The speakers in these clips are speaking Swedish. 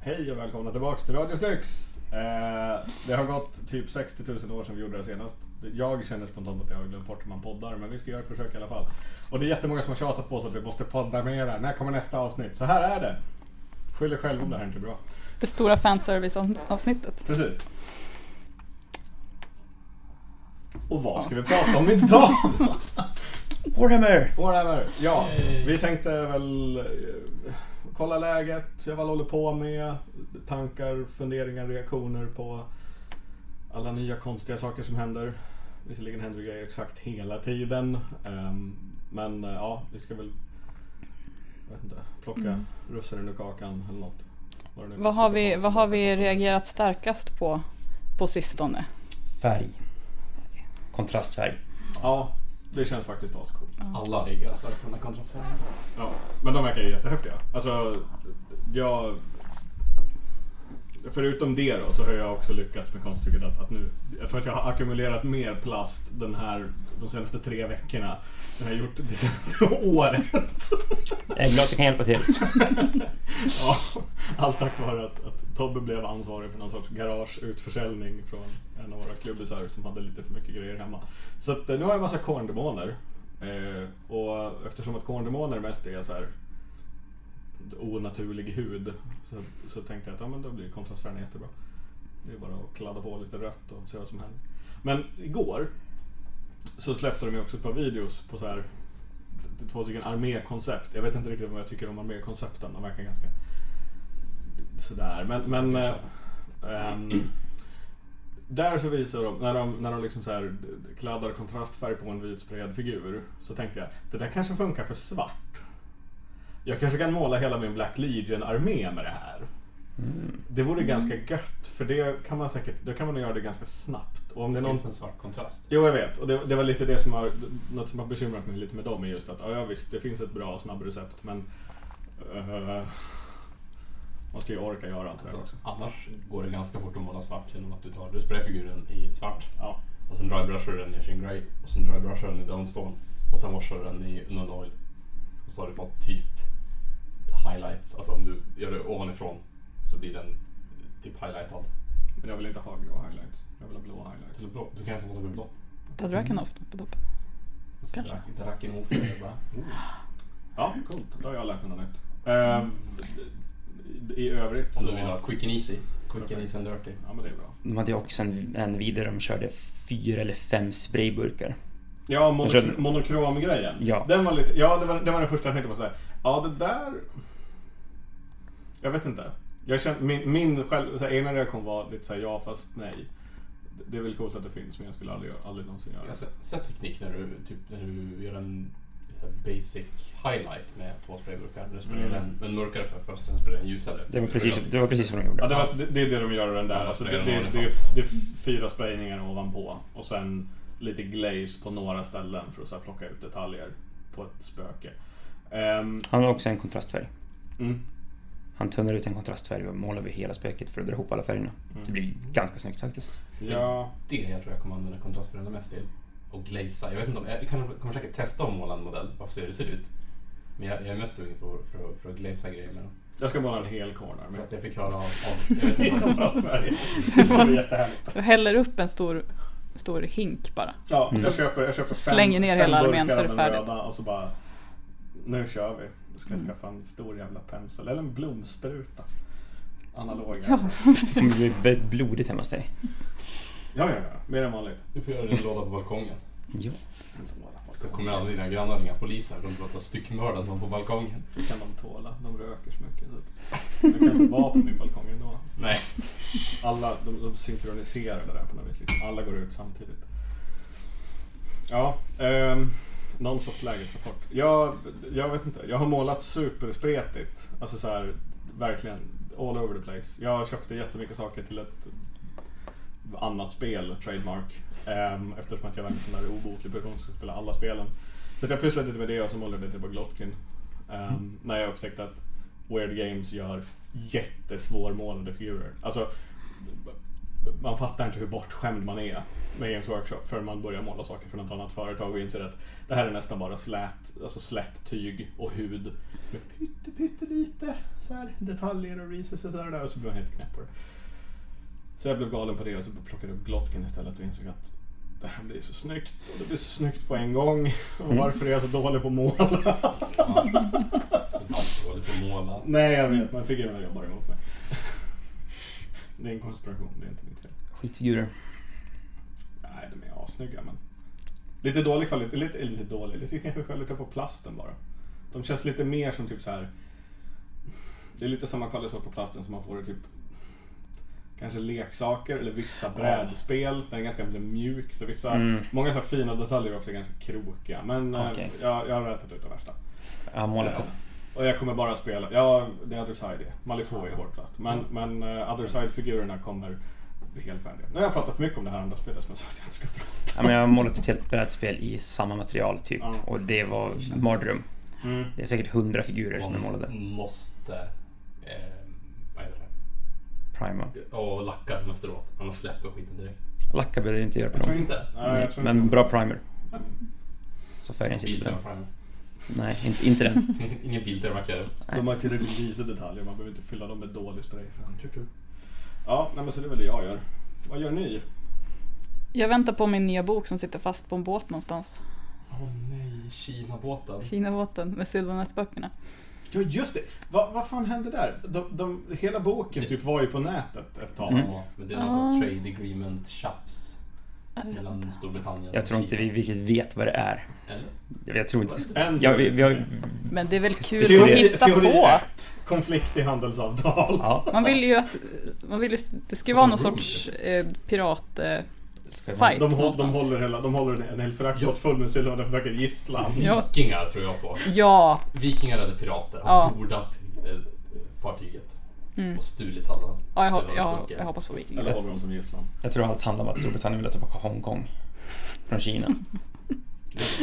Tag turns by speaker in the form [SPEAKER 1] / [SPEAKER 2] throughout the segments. [SPEAKER 1] Hej och välkomna tillbaks till Radio Styx! Eh, det har gått typ 60 000 år sedan vi gjorde det senast. Jag känner spontant att jag har glömt bort hur man poddar, men vi ska göra ett försök i alla fall. Och det är jättemånga som har tjatat på oss att vi måste podda mera. När kommer nästa avsnitt? Så här är det! Skyll er själv om det här inte är bra.
[SPEAKER 2] Det stora fanservice-avsnittet.
[SPEAKER 1] Precis. Och vad ska vi prata om idag?
[SPEAKER 3] Warhammer!
[SPEAKER 1] Warhammer! Ja, vi tänkte väl eh, kolla läget, se vad alla håller på med. Tankar, funderingar, reaktioner på alla nya konstiga saker som händer. Visserligen händer det grejer exakt hela tiden. ehm, Men eh, ja, vi ska väl jag vet inte, plocka
[SPEAKER 2] Mm.
[SPEAKER 1] russinen ur kakan eller något. Vad, det nu
[SPEAKER 2] Vad
[SPEAKER 1] kostar
[SPEAKER 2] har
[SPEAKER 1] på
[SPEAKER 2] vi,
[SPEAKER 1] oss.
[SPEAKER 2] vad har vi reagerat starkast på på sistone?
[SPEAKER 3] Färg. Kontrastfärg.
[SPEAKER 1] Ja, det känns faktiskt ascoolt.
[SPEAKER 4] Alla reagerar starkt på den här kontrastfärgen.
[SPEAKER 1] Ja, men de verkar ju jättehäftiga. Alltså, jag... Förutom det då så har jag också lyckats med konststycket att, att nu... Jag tror att jag har ackumulerat mer plast den här, de senaste tre veckorna än jag gjort det senaste året.
[SPEAKER 3] Jag är Eh, glad att jag kan hjälpa till.
[SPEAKER 1] ja, allt tack vare att, att Tobbe blev ansvarig för någon sorts garageutförsäljning från en av våra klubbisar som hade lite för mycket grejer hemma. Så att, eh, nu har jag en massa korndemoner. Eh, och eftersom att korndemoner mest är så här onaturlig hud så, så tänkte jag att ja, men då blir kontrastfärgerna jättebra. Det är bara att kladda på lite rött och se vad som händer. Men igår så släppte de ju också ett par videos på så här t- två stycken armékoncept. Jag vet inte riktigt vad jag tycker om armékoncepten. De verkar ganska sådär. Men, men eh, ehm, där så visar de, när de, när de liksom så här d- d- kladdar kontrastfärg på en vit spread figur så tänkte jag, det där kanske funkar för svart. Jag kanske kan måla hela min Black Legion-armé med det här. Det vore ganska gött för det kan man säkert, då kan man nog göra det ganska snabbt. Och om det är
[SPEAKER 4] Det
[SPEAKER 1] någon
[SPEAKER 4] finns en svart kontrast.
[SPEAKER 1] Jo, jag vet. Och det, det var lite det som har, något som har bekymrat mig lite med dem är just att ja, ja visst, det finns ett bra och snabbrecept men eh, man ska ju orka göra allt det här också.
[SPEAKER 4] Alltså, annars går det ganska fort att måla svart genom att du tar, du sprayar figuren i svart
[SPEAKER 1] Ja,
[SPEAKER 4] och sen drybrushar du den i Shing Grey och sen drybrushar du den i Dawnstone och sen washar du den i Unknown Oil. Och så har du fått typ highlights, alltså om du gör det ovanifrån så blir den typ highlightad.
[SPEAKER 1] men jag vill inte ha grå highlights. Jag vill ha blå highlights.
[SPEAKER 4] Eller blå. Du kan nästan få som en blått.
[SPEAKER 2] Hade du Rakanoff på topp?
[SPEAKER 4] Så
[SPEAKER 2] Kanske.
[SPEAKER 4] drack- Drack en ofri bara. Oh.
[SPEAKER 1] Ja, coolt. Då har jag lärt mig något nytt. Eh, d- I övrigt
[SPEAKER 4] Om
[SPEAKER 1] så...
[SPEAKER 4] du vill ha quick and easy. Quick and easy and dirty.
[SPEAKER 1] Ja, men det är bra.
[SPEAKER 3] De hade ju också en, en video där de körde fyra eller fem sprayburkar.
[SPEAKER 1] Ja, monok
[SPEAKER 3] Jag känner-
[SPEAKER 1] monokromgrejen.
[SPEAKER 3] Ja.
[SPEAKER 1] Den var lite, ja, det var, det var den första jag tänkte på såhär. Ja, det där... Jag vet inte. Jag kände, min min själv, så här, egna reaktion var lite såhär ja fast nej. Det- Det är väl coolt att det finns men jag skulle aldrig, göra- aldrig någonsin göra
[SPEAKER 4] Jag
[SPEAKER 1] det.
[SPEAKER 4] har sett- sett teknik när du, typ, när du gör en så här basic highlight med två sprayburkar. Nu spelar
[SPEAKER 1] Mm.
[SPEAKER 4] den, den mörkare för först, sen spelar den ljusare.
[SPEAKER 3] Det var precis, det var precis vad de gjorde.
[SPEAKER 1] Ja, det, var, det, det är det de gör i den där. Alltså, det, det, det, är, det är fyra sprayningar ovanpå och sen lite glaze på några ställen för att så här, plocka ut detaljer på ett spöke. Ehm,
[SPEAKER 3] Han har också en kontrastfärg.
[SPEAKER 1] mm.
[SPEAKER 3] Han tunnar ut en kontrastfärg och målar över hela spöket för att dra ihop alla färgerna.
[SPEAKER 1] Mm.
[SPEAKER 3] Det blir ganska snyggt faktiskt.
[SPEAKER 1] Ja,
[SPEAKER 4] Det jag tror jag kommer använda kontrastfärgerna mest till. Och glazea. Jag vet inte om, jag kanske kommer säkert testa att måla en modell bara för att se hur det ser ut. Men jag, jag är mest sugen för, att- för, att- för att glazea grejer med dem.
[SPEAKER 1] jag ska måla en hel corner.
[SPEAKER 4] För
[SPEAKER 1] Men...
[SPEAKER 4] att jag fick höra av, av jag vet inte, om-
[SPEAKER 1] Kontrastfärg. Det skulle vara jättehärligt.
[SPEAKER 2] Du häller upp en stor, stor hink bara.
[SPEAKER 1] Ja,
[SPEAKER 3] Mm.
[SPEAKER 1] så jag köper, jag köper fem,
[SPEAKER 2] slänger ner
[SPEAKER 1] fem
[SPEAKER 2] hela armén
[SPEAKER 1] burkar
[SPEAKER 2] så är det
[SPEAKER 1] av den
[SPEAKER 2] färdigt. Mm.
[SPEAKER 1] röda Och så bara, nu kör vi. Nu ska jag skaffa en stor jävla pensel eller en blomspruta. Analoga. Ja,
[SPEAKER 2] Ja, som
[SPEAKER 3] Det kommer bli väldigt blodigt hemma hos dig.
[SPEAKER 1] ja, ja. Mer än vanligt.
[SPEAKER 4] du får göra din låda på balkongen.
[SPEAKER 3] Ja.
[SPEAKER 4] Så kommer alla dina grannar ringa polisen för att du har styckmördat någon på balkongen.
[SPEAKER 1] Det kan de tåla. De röker så mycket. typ. Jag kan inte vara på min balkong ändå.
[SPEAKER 4] Nej.
[SPEAKER 1] Alla, de, de synkroniserar det där på något vis. Liksom. Alla går ut samtidigt. Ja, ehm, någon sorts lägesrapport. Jag, jag vet inte. Jag har målat superspretigt. Alltså så här, verkligen all over the place. Jag köpte jättemycket saker till ett annat spel, Trademark. ehm, eftersom att jag var en sån där obotlig person som skulle spela alla spelen. Så att jag pysslade lite med det och så målade jag lite på Glotkin. Ehm, När jag upptäckte att Weird Games gör jättesvårmålade figurer. Alltså man fattar inte hur bortskämd man är med Games Workshop förrän man börjar måla saker från ett annat företag och inser att det här är nästan bara slät, alltså slätt tyg och hud med pytte, pyttelite så här, detaljer och recesses och sådär och så blir man helt knäpp på det. Så jag blev galen på det och så plockade jag upp Glotken istället och insåg att det här blir så snyggt och det blir så snyggt på en gång. Och varför är jag så dålig på att måla?
[SPEAKER 4] Inte alls dålig på att måla.
[SPEAKER 1] Nej, jag vet. Man fick ju den jobbar emot mig. Det är en konspiration, det är inte mitt fel.
[SPEAKER 3] Skitfigurer.
[SPEAKER 1] Nej, de är assnygga men... Lite dålig kvalitet, lite, lite dålig, lite kanske kvalitet på plasten bara. De känns lite mer som typ så här. Det är lite samma kvalitet på plasten som man får i typ Kanske leksaker eller vissa brädspel. Den är ganska mjuk. Så vissa,
[SPEAKER 3] Mm.
[SPEAKER 1] Många så här fina detaljer är också ganska krokiga. Men eh,
[SPEAKER 3] Okej.
[SPEAKER 1] jag, jag har rätat ut de värsta.
[SPEAKER 3] Jag har målat
[SPEAKER 1] Ja. Och jag kommer bara spela, ja det är Other Side är. Malifaux är hårdplast. Men, men eh, Other Side-figurerna kommer helfärdiga. Nu har jag pratat för mycket om det här andra spelet som jag sa att jag inte ska prata
[SPEAKER 3] ja, men jag har målat ett helt brädspel i samma material typ.
[SPEAKER 1] Ja.
[SPEAKER 3] Och det var en mardröm.
[SPEAKER 1] om. Mm.
[SPEAKER 3] Det är säkert hundra figurer som är målade.
[SPEAKER 4] Man måste... Eh, vad heter
[SPEAKER 3] Primal.
[SPEAKER 4] det? Och lacka dem efteråt. Annars släpper skiten direkt.
[SPEAKER 3] Lacka behöver jag inte göra på
[SPEAKER 4] Jag tror
[SPEAKER 3] dem.
[SPEAKER 4] inte.
[SPEAKER 1] Nej, jag tror
[SPEAKER 3] men
[SPEAKER 1] inte.
[SPEAKER 3] bra primer. Så färgen sitter bra.
[SPEAKER 4] Bilderna fram.
[SPEAKER 3] Nej, inte, inte den.
[SPEAKER 4] Ingen bildermarkör.
[SPEAKER 1] De har tillräckligt lite detaljer, man behöver inte fylla dem med dålig spray. Fan, tju, tju. Ja, nej, men så det är väl det jag gör. Vad gör ni?
[SPEAKER 2] Jag väntar på min nya bok som sitter fast på en båt någonstans.
[SPEAKER 4] Åh nej, Kinabåten.
[SPEAKER 2] Kinabåten med Silvernäsböckerna.
[SPEAKER 1] Ja just det! Va, vad fan hände där? De, de, hela boken typ var ju på nätet ett tag.
[SPEAKER 3] Mm.
[SPEAKER 4] Ja, men det är någon sån här trade agreement tjafs
[SPEAKER 2] Ah. Jag vet
[SPEAKER 4] mellan
[SPEAKER 2] inte.
[SPEAKER 4] Storbritannien
[SPEAKER 3] Jag tror inte vi riktigt vet vad det är.
[SPEAKER 4] Eller?
[SPEAKER 3] Jag, jag tror inte vi ska...
[SPEAKER 1] En-
[SPEAKER 3] Ja, vi, vi har...
[SPEAKER 2] Men det är väl kul
[SPEAKER 1] Teori-
[SPEAKER 2] att hitta
[SPEAKER 1] teori
[SPEAKER 2] på.
[SPEAKER 1] ett. Konflikt i handelsavtal.
[SPEAKER 3] Ja.
[SPEAKER 2] Man vill ju att man vill ju, det ska
[SPEAKER 4] Som
[SPEAKER 2] vara någon
[SPEAKER 4] rules.
[SPEAKER 2] sorts eh, pirat... Eh,
[SPEAKER 3] Ska vi-
[SPEAKER 2] Fight.
[SPEAKER 1] De, hå- de
[SPEAKER 2] någonstans.
[SPEAKER 1] håller hela, de håller en- en hel
[SPEAKER 4] Ja.
[SPEAKER 1] fraktbåt full med sylvaneförsöken gisslan.
[SPEAKER 2] Ja.
[SPEAKER 4] Vikingar tror jag på.
[SPEAKER 2] ja,
[SPEAKER 4] Vikingar eller pirater har
[SPEAKER 2] Ja.
[SPEAKER 4] bordat eh, fartyget
[SPEAKER 2] Mm.
[SPEAKER 4] och stulit alla
[SPEAKER 2] ja jag, hop-
[SPEAKER 4] sedlar och
[SPEAKER 2] jag,
[SPEAKER 4] böcker.
[SPEAKER 2] jag hoppas på vikingar.
[SPEAKER 1] Eller håller de som gisslan.
[SPEAKER 3] Jag tror allt handlar om att Storbritannien vill ta tillbaka Hongkong. Från Kina.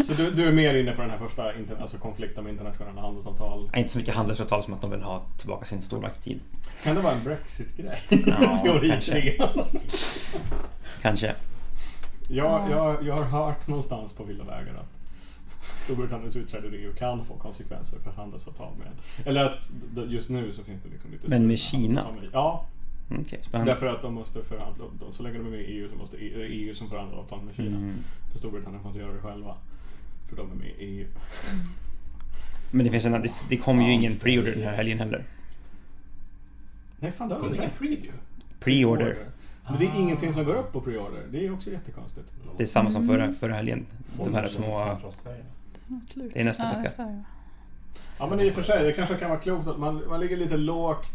[SPEAKER 1] Så du, du är mer inne på den här första inter- alltså konflikten med internationella handelsavtal.
[SPEAKER 3] Nej, Inte så mycket handelsavtal som att de vill ha tillbaka sin stormaktstid.
[SPEAKER 1] Kan det vara en Brexit-grej?
[SPEAKER 3] Ja,
[SPEAKER 1] Teorikrig.
[SPEAKER 3] Kanske.
[SPEAKER 1] Jag, jag, jag har hört någonstans på vilda vägar att Storbritanniens utträde ur EU kan få konsekvenser för handelsavtal med... Eller att d- just nu så finns det liksom lite...
[SPEAKER 3] Men med
[SPEAKER 1] stora
[SPEAKER 3] Kina?
[SPEAKER 1] handelsavtal med- Ja,
[SPEAKER 3] Mm, Okej, spännande.
[SPEAKER 1] därför att de måste förhandla. De, så länge de är med i EU så måste EU, EU som förhandlar avtal med Kina.
[SPEAKER 3] Mm.
[SPEAKER 1] För Storbritannien får inte göra det själva. För de är med i EU.
[SPEAKER 3] Men det, finns en, det, det kommer ju ingen pre-order den här helgen heller.
[SPEAKER 1] Nej fan, det har
[SPEAKER 4] Kom
[SPEAKER 1] de
[SPEAKER 4] det ingen
[SPEAKER 1] rätt.
[SPEAKER 4] preview?
[SPEAKER 3] Pre-order.
[SPEAKER 1] Men det är ingenting som går upp på pre-order. Det är också jättekonstigt.
[SPEAKER 3] Det är samma som förra, förra helgen. De här små...
[SPEAKER 2] Slut.
[SPEAKER 3] Det är nästa
[SPEAKER 2] Ja,
[SPEAKER 3] vecka.
[SPEAKER 2] nästa, ja.
[SPEAKER 1] Ja men i och för sig, det kanske kan vara klokt att man, man ligger lite lågt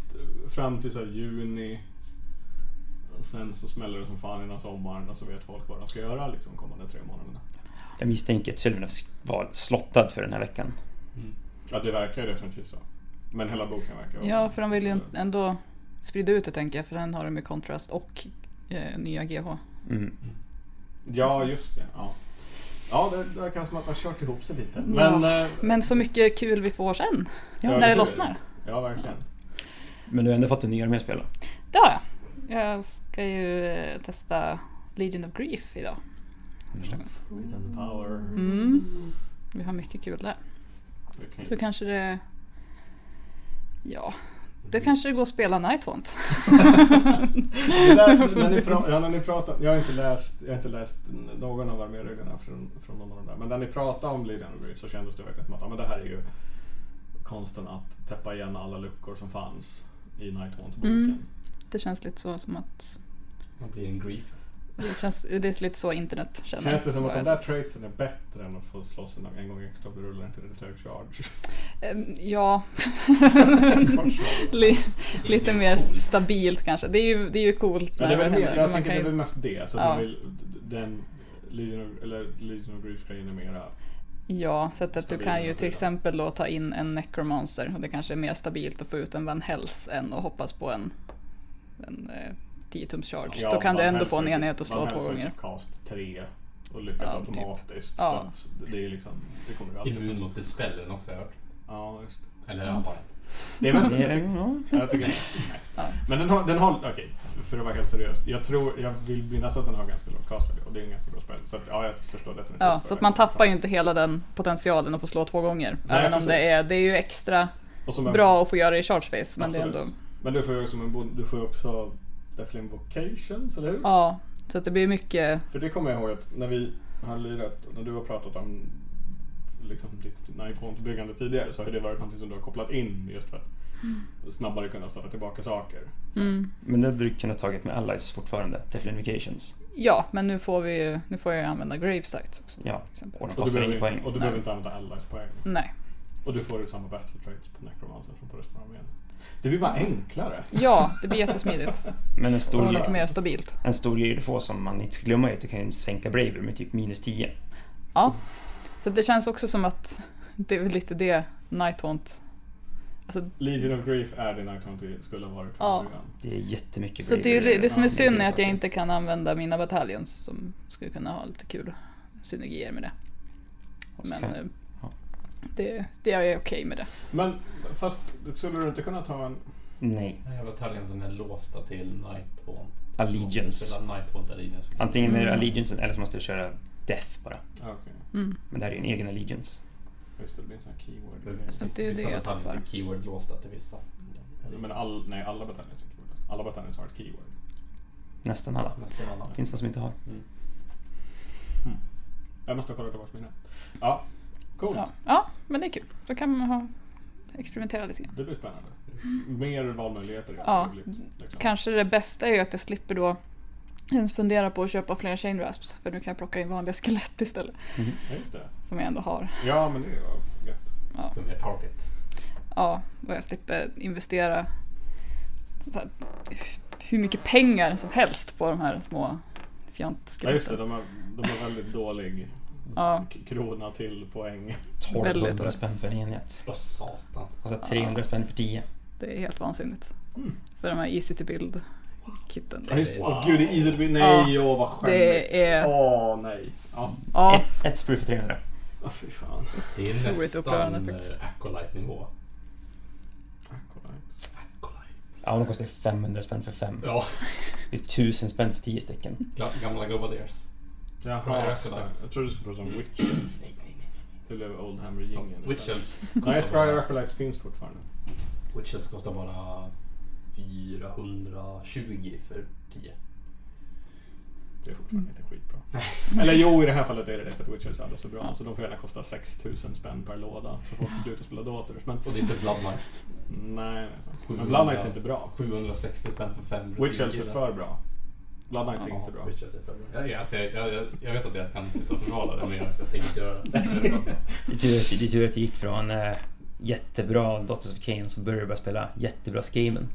[SPEAKER 1] fram till så här juni. Och Sen så smäller det som fan innan sommaren och så vet folk vad de ska göra liksom kommande tre månaderna.
[SPEAKER 3] Jag misstänker att Sylvanus var slottad för den här veckan.
[SPEAKER 1] Ja det verkar ju definitivt så. Men hela boken verkar vara-
[SPEAKER 2] Ja, för de vill ju ändå sprida ut det tänker jag, för den har de med Contrast och eh, nya GH.
[SPEAKER 3] Mm.
[SPEAKER 1] Ja just det. Ja, ja det verkar som att det har kört ihop sig lite.
[SPEAKER 2] Ja.
[SPEAKER 1] Men eh,
[SPEAKER 2] Men så mycket kul vi får sen,
[SPEAKER 1] Ja,
[SPEAKER 2] när
[SPEAKER 1] det
[SPEAKER 2] det
[SPEAKER 1] är-
[SPEAKER 2] lossnar.
[SPEAKER 1] ja verkligen.
[SPEAKER 3] Men du har ändå fått en ny armé att spela.
[SPEAKER 2] Det har jag. Jag ska ju eh, testa Legion of Grief idag.
[SPEAKER 1] With and power.
[SPEAKER 2] Mm. Vi har mycket kul där.
[SPEAKER 1] Mm. Okej.
[SPEAKER 2] Så kanske det... Ja, då kanske det går att spela Nightwant.
[SPEAKER 1] Det där, när, ni pra- ja, när ni pratar, jag har inte läst, jag har inte läst någon av arméreglerna från, från någon av de där. Men när ni pratade om Lydian Reef så kändes det verkligen som att ja, men det här är ju konsten att täppa igen alla luckor som fanns i Nighthaunt-boken.
[SPEAKER 2] Mm. Det känns lite så som att...
[SPEAKER 4] Man blir en grief.
[SPEAKER 2] Det, känns, det är lite så internet känner.
[SPEAKER 1] Känns det som att
[SPEAKER 2] vad
[SPEAKER 1] de
[SPEAKER 2] jag
[SPEAKER 1] där
[SPEAKER 2] sett.
[SPEAKER 1] traitsen är bättre än att få slåss en, en gång extra och du rullar inte det till hög charge?
[SPEAKER 2] Ehm, Ja.
[SPEAKER 1] Kort slag.
[SPEAKER 2] Li-
[SPEAKER 4] Det är
[SPEAKER 2] lite
[SPEAKER 4] ju
[SPEAKER 2] mer
[SPEAKER 4] coolt.
[SPEAKER 2] stabilt kanske. Det är ju, det är ju coolt
[SPEAKER 1] Men
[SPEAKER 2] när
[SPEAKER 1] det är
[SPEAKER 2] det
[SPEAKER 1] väl mer,
[SPEAKER 2] händer.
[SPEAKER 1] jag
[SPEAKER 2] Man
[SPEAKER 1] tänker
[SPEAKER 2] kan
[SPEAKER 1] det är väl
[SPEAKER 2] ju,
[SPEAKER 1] mest det. Så att
[SPEAKER 2] Ja.
[SPEAKER 1] man vill, d- den Legion of, eller Legion of Grief-grejen är mera...
[SPEAKER 2] ja, så att att du
[SPEAKER 1] Stabil
[SPEAKER 2] kan ju
[SPEAKER 1] energi,
[SPEAKER 2] till
[SPEAKER 1] ja.
[SPEAKER 2] exempel då ta in en necromancer och det kanske är mer stabilt att få ut en Van Hels än att hoppas på en, en eh, 10 tums charge. då kan du
[SPEAKER 1] man
[SPEAKER 2] ändå få en
[SPEAKER 1] hälsar-
[SPEAKER 2] enhet att slå
[SPEAKER 1] man
[SPEAKER 2] två
[SPEAKER 1] hälsar
[SPEAKER 2] gånger.
[SPEAKER 1] cast 3 och lyckas
[SPEAKER 2] Ja, typ.
[SPEAKER 1] automatiskt.
[SPEAKER 2] Ja.
[SPEAKER 1] Så att det är liksom, det kommer du alltid
[SPEAKER 4] Immun mot dispellen också har jag hört.
[SPEAKER 1] Ja, just det.
[SPEAKER 4] Eller är han bara
[SPEAKER 1] Det är mest
[SPEAKER 3] Det är, ja.
[SPEAKER 1] jag tycker, nej.
[SPEAKER 2] Ja.
[SPEAKER 1] Men den har, den har okej, för att vara helt seriös. Jag tror, jag vill minnas att den har ganska lågt cast value och det är en ganska bra spel. Så att, ja, jag förstår definitivt.
[SPEAKER 2] Ja, så att man tappar ju inte hela den potentialen att få slå två gånger.
[SPEAKER 1] Nej,
[SPEAKER 2] även om
[SPEAKER 1] precis.
[SPEAKER 2] det är, det är ju extra
[SPEAKER 1] Och som en-
[SPEAKER 2] bra att få göra det i charge phase. Men det är
[SPEAKER 1] Absolut.
[SPEAKER 2] ändå,
[SPEAKER 1] Men du får ju också, en bon- du får ju också Deathling Vocations, eller hur?
[SPEAKER 2] ja, så att det blir mycket.
[SPEAKER 1] För det kommer jag ihåg att när vi har lirat, när du har pratat om liksom ditt Nine-point-byggande tidigare så har det varit någonting som du har kopplat in just för att snabbare kunna starta tillbaka saker.
[SPEAKER 2] Mm.
[SPEAKER 3] Men det hade du kunnat tagit med Allies fortfarande, Deflinifications.
[SPEAKER 2] Ja, men nu får, vi, ju- nu får jag ju använda gravesites också.
[SPEAKER 3] Ja,
[SPEAKER 2] Till exempel.
[SPEAKER 3] och de
[SPEAKER 1] Och du,
[SPEAKER 3] kostar
[SPEAKER 1] behöver,
[SPEAKER 3] inga poäng.
[SPEAKER 1] inte- och du
[SPEAKER 2] Nej.
[SPEAKER 1] behöver inte använda allies poäng.
[SPEAKER 2] Nej.
[SPEAKER 1] Och du får ut samma battle traits på necromancer som på resten av armén. Det blir bara enklare.
[SPEAKER 2] Ja, det blir jättesmidigt.
[SPEAKER 3] Men en
[SPEAKER 2] Och
[SPEAKER 3] stor,
[SPEAKER 2] lite mer stabilt.
[SPEAKER 3] en stor grej du får som man inte ska glömma är att du kan ju sänka Braver med typ minus 10.
[SPEAKER 2] Ja, så det känns också som att det är väl lite det Nighthaunt... Alltså,
[SPEAKER 1] Legion of Grief är det Nighthaunter skulle ha varit från
[SPEAKER 2] Ja.
[SPEAKER 1] början.
[SPEAKER 3] Det är jättemycket
[SPEAKER 2] så det, är ju det, det som är
[SPEAKER 1] Ja,
[SPEAKER 2] synd är att
[SPEAKER 3] saker.
[SPEAKER 2] jag inte kan använda mina bataljoner som skulle kunna ha lite kul synergier med det.
[SPEAKER 3] Och så
[SPEAKER 2] Men
[SPEAKER 3] kan-
[SPEAKER 2] eh,
[SPEAKER 3] ja.
[SPEAKER 2] det, det är jag okej med det.
[SPEAKER 1] Men fast skulle du inte kunna ta en...
[SPEAKER 3] Nej,
[SPEAKER 4] Den här jävla taljen som är låsta till Night Haunt.
[SPEAKER 3] Allegiance.
[SPEAKER 4] Spela Night Haunt Allegiance.
[SPEAKER 3] Antingen är det
[SPEAKER 2] Mm.
[SPEAKER 3] Allegiance eller så måste du köra Death bara.
[SPEAKER 1] Ja, okej.
[SPEAKER 2] Mm.
[SPEAKER 3] Men det här är ju en egen Allegiance.
[SPEAKER 1] Just det, det blir en sån här keyword.
[SPEAKER 3] Mm.
[SPEAKER 2] Så det är
[SPEAKER 4] vissa
[SPEAKER 2] det jag
[SPEAKER 4] bataljer
[SPEAKER 2] tappar.
[SPEAKER 4] är keyword låsta till vissa.
[SPEAKER 1] Men all, nej, alla bataljer som keyword. Alla bataljer har ett keyword.
[SPEAKER 3] Nästan alla.
[SPEAKER 4] Nästan alla.
[SPEAKER 3] Finns det som inte har.
[SPEAKER 4] Mm.
[SPEAKER 1] Jag måste kolla tillbaka mina. Ja, coolt.
[SPEAKER 2] Ja. ja, men det är kul. Så kan man ha, experimentera lite grann.
[SPEAKER 1] Det blir spännande. Mer valmöjligheter. är
[SPEAKER 2] Ja,
[SPEAKER 1] roligt, liksom.
[SPEAKER 2] Kanske det bästa är ju att jag slipper då ens fundera på att köpa fler chain rasps för nu kan jag plocka in vanliga skelett istället
[SPEAKER 1] Ja, just det.
[SPEAKER 2] som jag ändå har.
[SPEAKER 1] Ja, men det var gött.
[SPEAKER 2] Ja.
[SPEAKER 4] För mer target.
[SPEAKER 2] Ja, och jag slipper investera så här, hur mycket pengar som helst på de här små
[SPEAKER 1] Ja, just det.
[SPEAKER 2] fjantskeleten.
[SPEAKER 1] De har, de har väldigt dålig
[SPEAKER 2] Ja,
[SPEAKER 1] k- krona till poäng.
[SPEAKER 3] 1200
[SPEAKER 2] Väldigt.
[SPEAKER 3] spänn för en enhet.
[SPEAKER 4] Åh satan.
[SPEAKER 3] Och så 300 spänn för 10.
[SPEAKER 2] det är helt vansinnigt.
[SPEAKER 1] Mm.
[SPEAKER 2] För de här easy to build-kitten.
[SPEAKER 1] Ja, just det.
[SPEAKER 4] Wow.
[SPEAKER 1] Åh gud, det är easy to be. Nej, åh vad skämmigt.
[SPEAKER 2] Det är-
[SPEAKER 1] Åh nej. Ja,
[SPEAKER 2] Ja,
[SPEAKER 3] Ett, ett sprue för 300.
[SPEAKER 1] oh, fy fan.
[SPEAKER 4] Det
[SPEAKER 2] Otroligt
[SPEAKER 4] är
[SPEAKER 2] upprörande
[SPEAKER 4] nästan
[SPEAKER 2] faktiskt.
[SPEAKER 4] eh, Acolyte-nivå.
[SPEAKER 1] Acolyte.
[SPEAKER 4] Acolyte.
[SPEAKER 3] Ja, de kostar ju 500 spänn för fem.
[SPEAKER 4] Ja,
[SPEAKER 3] Det är 1000 spänn för 10 stycken.
[SPEAKER 4] gla- gamla Gobaders.
[SPEAKER 1] Jaha,
[SPEAKER 4] Acolyte.
[SPEAKER 1] jag trodde du skulle prata om Witcher.
[SPEAKER 4] Nej, nej, nej.
[SPEAKER 1] Det blev Oldhammer-jingeln.
[SPEAKER 4] Witchels.
[SPEAKER 1] Nej, Scryer Acolytes finns fortfarande.
[SPEAKER 4] Witchels kostar bara 420 för 10.
[SPEAKER 1] Det är fortfarande inte skitbra. Eller jo, i det här fallet är det det för att Witchers är alldeles för bra. Så de får gärna kosta 6000 spänn per låda så folk slutar spela Daughters. Men
[SPEAKER 4] Och det är inte Blood Knights.
[SPEAKER 1] nej, men Blood Knights är inte bra.
[SPEAKER 4] 760 spänn för 5
[SPEAKER 1] Witchers är för bra. Blood Knights är inte bra.
[SPEAKER 4] Witchels är för bra. Jag, jag, alltså, jag, jag, jag vet att jag kan sitta och förtala det men jag, jag tänker göra det.
[SPEAKER 3] Det är tur att- det är tur att det gick från eh, jättebra Daughters of Cain så började jag bara spela jättebra Skaven.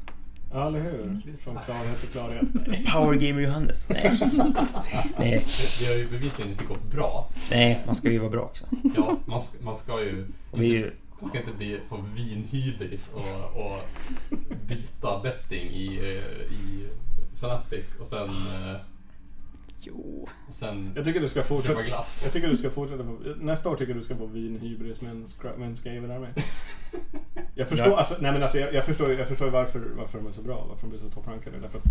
[SPEAKER 1] Ja, eller hur? Från klarhet till klarhet.
[SPEAKER 3] Power Gamer Johannes. Nej. nej.
[SPEAKER 4] Det- Det har ju bevisligen inte gått bra.
[SPEAKER 3] Nej, man ska ju vara bra också.
[SPEAKER 4] Ja, man, ska, man ska ju...
[SPEAKER 3] Och vi är ju
[SPEAKER 4] Man ska inte bli, få vinhybris och, och byta betting i, eh, i Fnatic och sen, eh,
[SPEAKER 2] jo.
[SPEAKER 4] och sen
[SPEAKER 1] Jag tycker du ska
[SPEAKER 4] köpa
[SPEAKER 1] fortsätta. Jag
[SPEAKER 4] glass.
[SPEAKER 1] tycker du ska fortsätta på, nästa år tycker jag du ska få vin hybris med en, skra- med en skaven armé. Jag förstår,
[SPEAKER 3] Ja.
[SPEAKER 1] alltså, nej men alltså, jag, jag förstår, jag förstår ju varför, varför de är så bra, varför de blir så topprankade. Därför att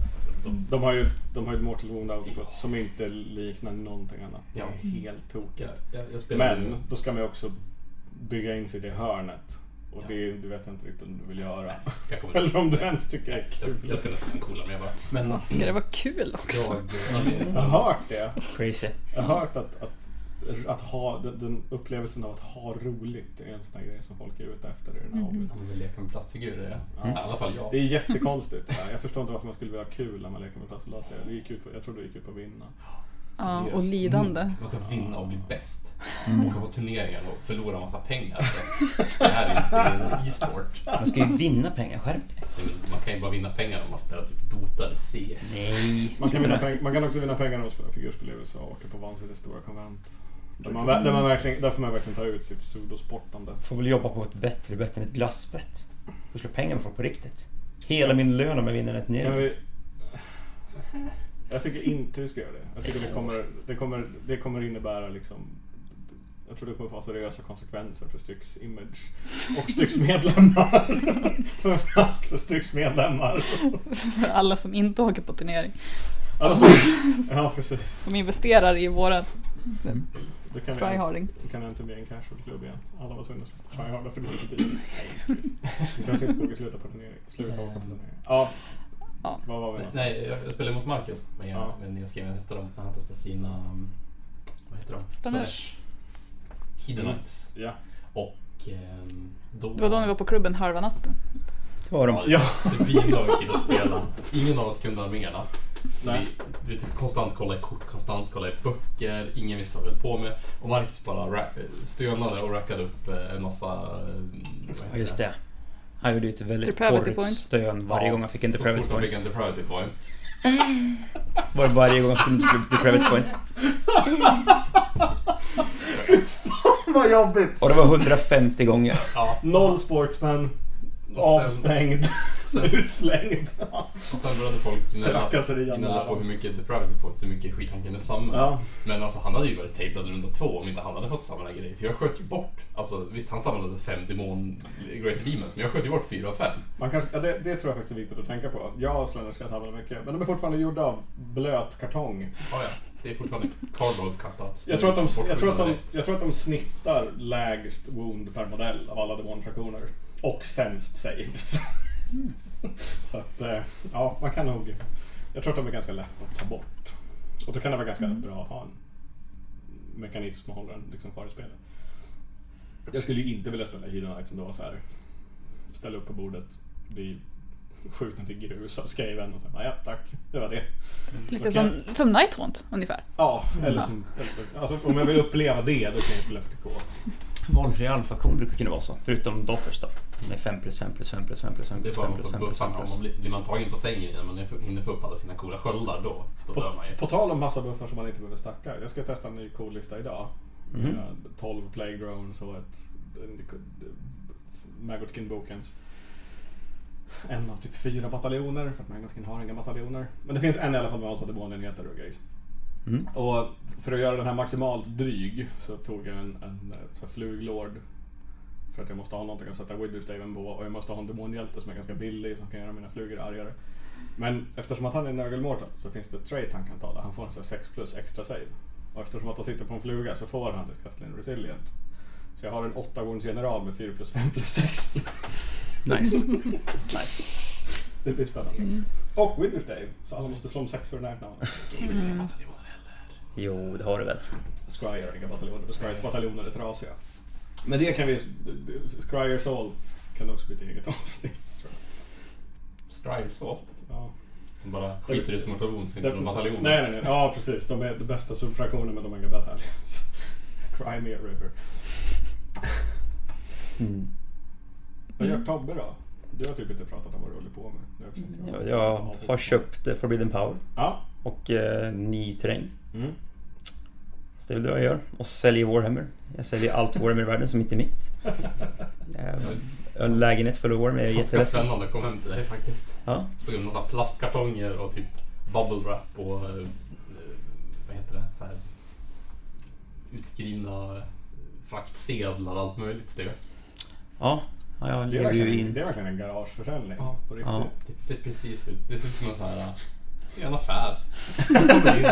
[SPEAKER 1] De har ju, de har ju ett Mortal Wound output som inte liknar någonting annat. Det är
[SPEAKER 4] Ja.
[SPEAKER 1] helt
[SPEAKER 4] Jag,
[SPEAKER 1] tokigt.
[SPEAKER 4] jag, jag spelar
[SPEAKER 1] Men då ska man ju också bygga in sig i det hörnet. Och det, det vet jag inte riktigt om du vill göra.
[SPEAKER 4] Jag kommer
[SPEAKER 1] Eller om du
[SPEAKER 4] Nej.
[SPEAKER 1] ens tycker det är
[SPEAKER 4] Jag,
[SPEAKER 1] kul.
[SPEAKER 4] jag skulle nästan coola men jag bara... Men
[SPEAKER 1] Alltså.
[SPEAKER 2] Ja, Ska det vara kul också?
[SPEAKER 1] Jag eh,
[SPEAKER 4] jag...
[SPEAKER 1] har hört det.
[SPEAKER 3] crazy.
[SPEAKER 1] Jag har hört att, att, att ha, den, den upplevelsen av att ha roligt är en sån här grej som folk är ute efter i den här hobbyn.
[SPEAKER 4] Man vill leka med plastfigurer, ja. I alla fall jag.
[SPEAKER 1] Mm. Det är jättekonstigt. Jag förstår inte varför man skulle vilja ha kul när man leker med plastsoldater. Det gick ut på, jag tror det gick ut på att vinna.
[SPEAKER 2] Ja, och
[SPEAKER 1] Mm.
[SPEAKER 4] Seriöst.
[SPEAKER 2] lidande.
[SPEAKER 4] Man ska vinna och bli bäst.
[SPEAKER 3] Mm.
[SPEAKER 4] Åka på turneringar och förlora massa pengar. Det här är inte en e-sport.
[SPEAKER 3] Man ska ju vinna pengar, skärp dig.
[SPEAKER 4] Man kan ju bara vinna pengar om man spelar typ Dota eller CS.
[SPEAKER 3] Nej.
[SPEAKER 1] Man kan,
[SPEAKER 3] sluta
[SPEAKER 1] vinna
[SPEAKER 3] med det.
[SPEAKER 1] peng- man kan också vinna pengar om man spelar figurspel i USA och åker på vansinnigt stora konvent. Där, man, där, man verkligen, där får man verkligen ta ut sitt pseudosportande.
[SPEAKER 3] Får väl jobba på ett bättre bett än ett glassbett. Får slå pengar med folk på riktigt. Hela min lön om jag vinner en
[SPEAKER 1] Kan
[SPEAKER 3] turnering.
[SPEAKER 1] vi... Jag tycker inte vi ska göra det. Jag tycker det kommer, det kommer, det kommer innebära liksom Jag tror det kommer få seriösa konsekvenser för Styx image och Styx medlemmar. Framförallt för Styx medlemmar.
[SPEAKER 2] För alla som inte åker på turnering.
[SPEAKER 1] Alla som, ja, precis.
[SPEAKER 2] Som investerar i våra
[SPEAKER 1] Då kan, jag,
[SPEAKER 2] tryharding.
[SPEAKER 1] då kan jag inte bli en casual-klubb igen. Alla var tvungna att sluta tryharda för det gick dyrt. Du kanske inte vågar sluta på turnering. Sluta åka på turnering. Ja,
[SPEAKER 2] Ja.
[SPEAKER 1] vad var vi någonstans?
[SPEAKER 4] Nej, jag jag spelade mot Marcus. Men jag,
[SPEAKER 1] Ja.
[SPEAKER 4] men jag skrev jag testade dem när han testade sina... um, Vad heter de?
[SPEAKER 2] Stanesh.
[SPEAKER 4] Hidden
[SPEAKER 1] Mm.
[SPEAKER 4] Knights.
[SPEAKER 1] Ja.
[SPEAKER 4] Och ehm, då...
[SPEAKER 2] Det var då ni var på klubben halva natten.
[SPEAKER 3] Det var de.
[SPEAKER 1] Ja.
[SPEAKER 4] Ja, svinlag kille att spela. Ingen av oss kunde arméerna. Så
[SPEAKER 1] Nej.
[SPEAKER 4] vi, vi typ konstant kollade i kort, konstant kollade i böcker. Ingen visste vad vi höll på med. Och Marcus bara ra- stönade och rackade upp eh, en massa... eh, vad heter
[SPEAKER 3] Ja, just det. Han gjorde ju ett väldigt
[SPEAKER 2] Depravity
[SPEAKER 3] porrigt
[SPEAKER 2] point.
[SPEAKER 3] stön varje
[SPEAKER 4] Ja,
[SPEAKER 3] gång han fick en
[SPEAKER 4] så fort
[SPEAKER 3] depravity
[SPEAKER 4] han fick en
[SPEAKER 3] point.
[SPEAKER 4] depravity point.
[SPEAKER 3] Var det varje gång han fick en depravity point.
[SPEAKER 1] Vad jobbigt!
[SPEAKER 3] Och det var 150 gånger.
[SPEAKER 4] Ja.
[SPEAKER 1] Noll sportsman. Avstängd.
[SPEAKER 4] Sen,
[SPEAKER 1] Utslängd.
[SPEAKER 4] och sen började folk gnälla
[SPEAKER 1] Trakasserier.
[SPEAKER 4] gnälla på hur mycket depravity points, hur mycket skit han kunde samla.
[SPEAKER 1] Ja.
[SPEAKER 4] Men alltså han hade ju varit tablad runda två om inte han hade fått samla grejer. För jag sköt ju bort, alltså visst han samlade fem demon Great Demons, men jag sköt ju bort fyra av fem.
[SPEAKER 1] Man kanske, ja, det, det tror jag faktiskt är viktigt att tänka på. Jag avslöjar ska samla mycket, men de är fortfarande gjorda av blöt kartong.
[SPEAKER 4] Ja, ja. Det är fortfarande cardboard karta.
[SPEAKER 1] Jag tror, att de, jag, tror att de, jag tror att de snittar lägst wound per modell av alla demonfraktioner. Och sämst saves. Mm. Så att, eh, ja, man kan nog... Jag tror att de är ganska lätta att ta bort. Och då kan det vara ganska bra att ha en mekanism som håller den liksom kvar i spelet. Jag skulle ju inte vilja spela Hero Knight som det var så här. Ställa upp på bordet, bli skjuten till grus av skaven och sen bara ja tack, det var det.
[SPEAKER 2] Lite som, som Nightwant ungefär.
[SPEAKER 1] Ja, eller som... Eller, alltså, om jag vill uppleva det, då kan jag spela 40K.
[SPEAKER 3] Valfri alfakon brukar kunna vara så. Förutom Daughters då. Med 5 plus 5 plus 5 plus 5 plus 5
[SPEAKER 4] Mm. Det är
[SPEAKER 3] plus
[SPEAKER 4] bara
[SPEAKER 3] 5
[SPEAKER 4] man
[SPEAKER 3] plus
[SPEAKER 4] får
[SPEAKER 3] 5 plus 5
[SPEAKER 4] buffa. Om man
[SPEAKER 3] plus.
[SPEAKER 4] blir, blir man tagen på sängen innan man hinner få upp alla sina coola sköldar då, då dör man ju.
[SPEAKER 1] På tal om massa buffar som man inte behöver stacka. Jag ska testa en ny cool lista idag.
[SPEAKER 3] Mhm.
[SPEAKER 1] Eh, 12 Plague Drones och ett... en- Maggotkin-bokens. En av typ fyra bataljoner, för att Maggotkin har inga bataljoner. Men det finns en i alla fall med massa demonenheter och grejer.
[SPEAKER 3] Mm.
[SPEAKER 1] Och för att göra den här maximalt dryg så tog jag en, en eh, så här fluglord. För att jag måste ha någonting att sätta Witherstaven på och jag måste ha en demonhjälte som är ganska billig som kan göra mina flugor argare. Men eftersom att han är en Nurgle-mortal så finns det ett trait han kan ta där han får en sån här 6 plus extra save. Och eftersom att han sitter på en fluga så får han disgusting resilient. Så jag har en 8 gångers general med 4 plus 5 plus 6 plus.
[SPEAKER 3] Nice. nice.
[SPEAKER 1] Det blir spännande. Och Witherstave, så alla måste slå om sexor när han
[SPEAKER 4] Skriver ni
[SPEAKER 1] Mm.
[SPEAKER 4] inga bataljoner eller?
[SPEAKER 3] Jo, det har du väl.
[SPEAKER 1] Scryer, inga bataljoner. för Scryers bataljoner är trasiga. Men det kan vi... d- d- Scryers Alt kan också bli ett eget avsnitt. Tror jag.
[SPEAKER 4] Scribe Salt.
[SPEAKER 1] Ja.
[SPEAKER 4] De bara skiter i smart och ont, så inte någon bataljon.
[SPEAKER 1] Nej, nej, nej. Ja, precis. De är de bästa subfraktionerna men de har inga bataljoner. Crimea River.
[SPEAKER 3] Mm.
[SPEAKER 1] Vad
[SPEAKER 4] Mm.
[SPEAKER 1] gör Tobbe då? Du har typ inte pratat om vad du håller på med. Jag har försökt-
[SPEAKER 3] Ja, Jag har köpt eh, Forbidden Power
[SPEAKER 1] Ja.
[SPEAKER 3] och eh, ny terräng.
[SPEAKER 1] Mm.
[SPEAKER 3] Så det är väl det jag gör. Och säljer Warhammer. Jag säljer allt Warhammer i världen som inte är mitt. Eh, Jag har en lägenhet full av Warhammer. Jag är
[SPEAKER 4] Ganska
[SPEAKER 3] jätteledsen.
[SPEAKER 4] spännande att komma hem till dig faktiskt.
[SPEAKER 3] Ja.
[SPEAKER 4] Såg en massa plastkartonger och typ bubble wrap och eh, vad heter det? Så här, utskrivna eh, fraktsedlar och allt möjligt stök.
[SPEAKER 3] Ja, ja, jag
[SPEAKER 1] Det, är
[SPEAKER 3] lever ju
[SPEAKER 1] verkligen, det
[SPEAKER 3] in.
[SPEAKER 1] är verkligen en garageförsäljning.
[SPEAKER 4] Ja.
[SPEAKER 1] På riktigt.
[SPEAKER 3] Ja.
[SPEAKER 4] Det ser precis ut. Det ser ut som en sån här... eh, det är en affär. Man kommer in,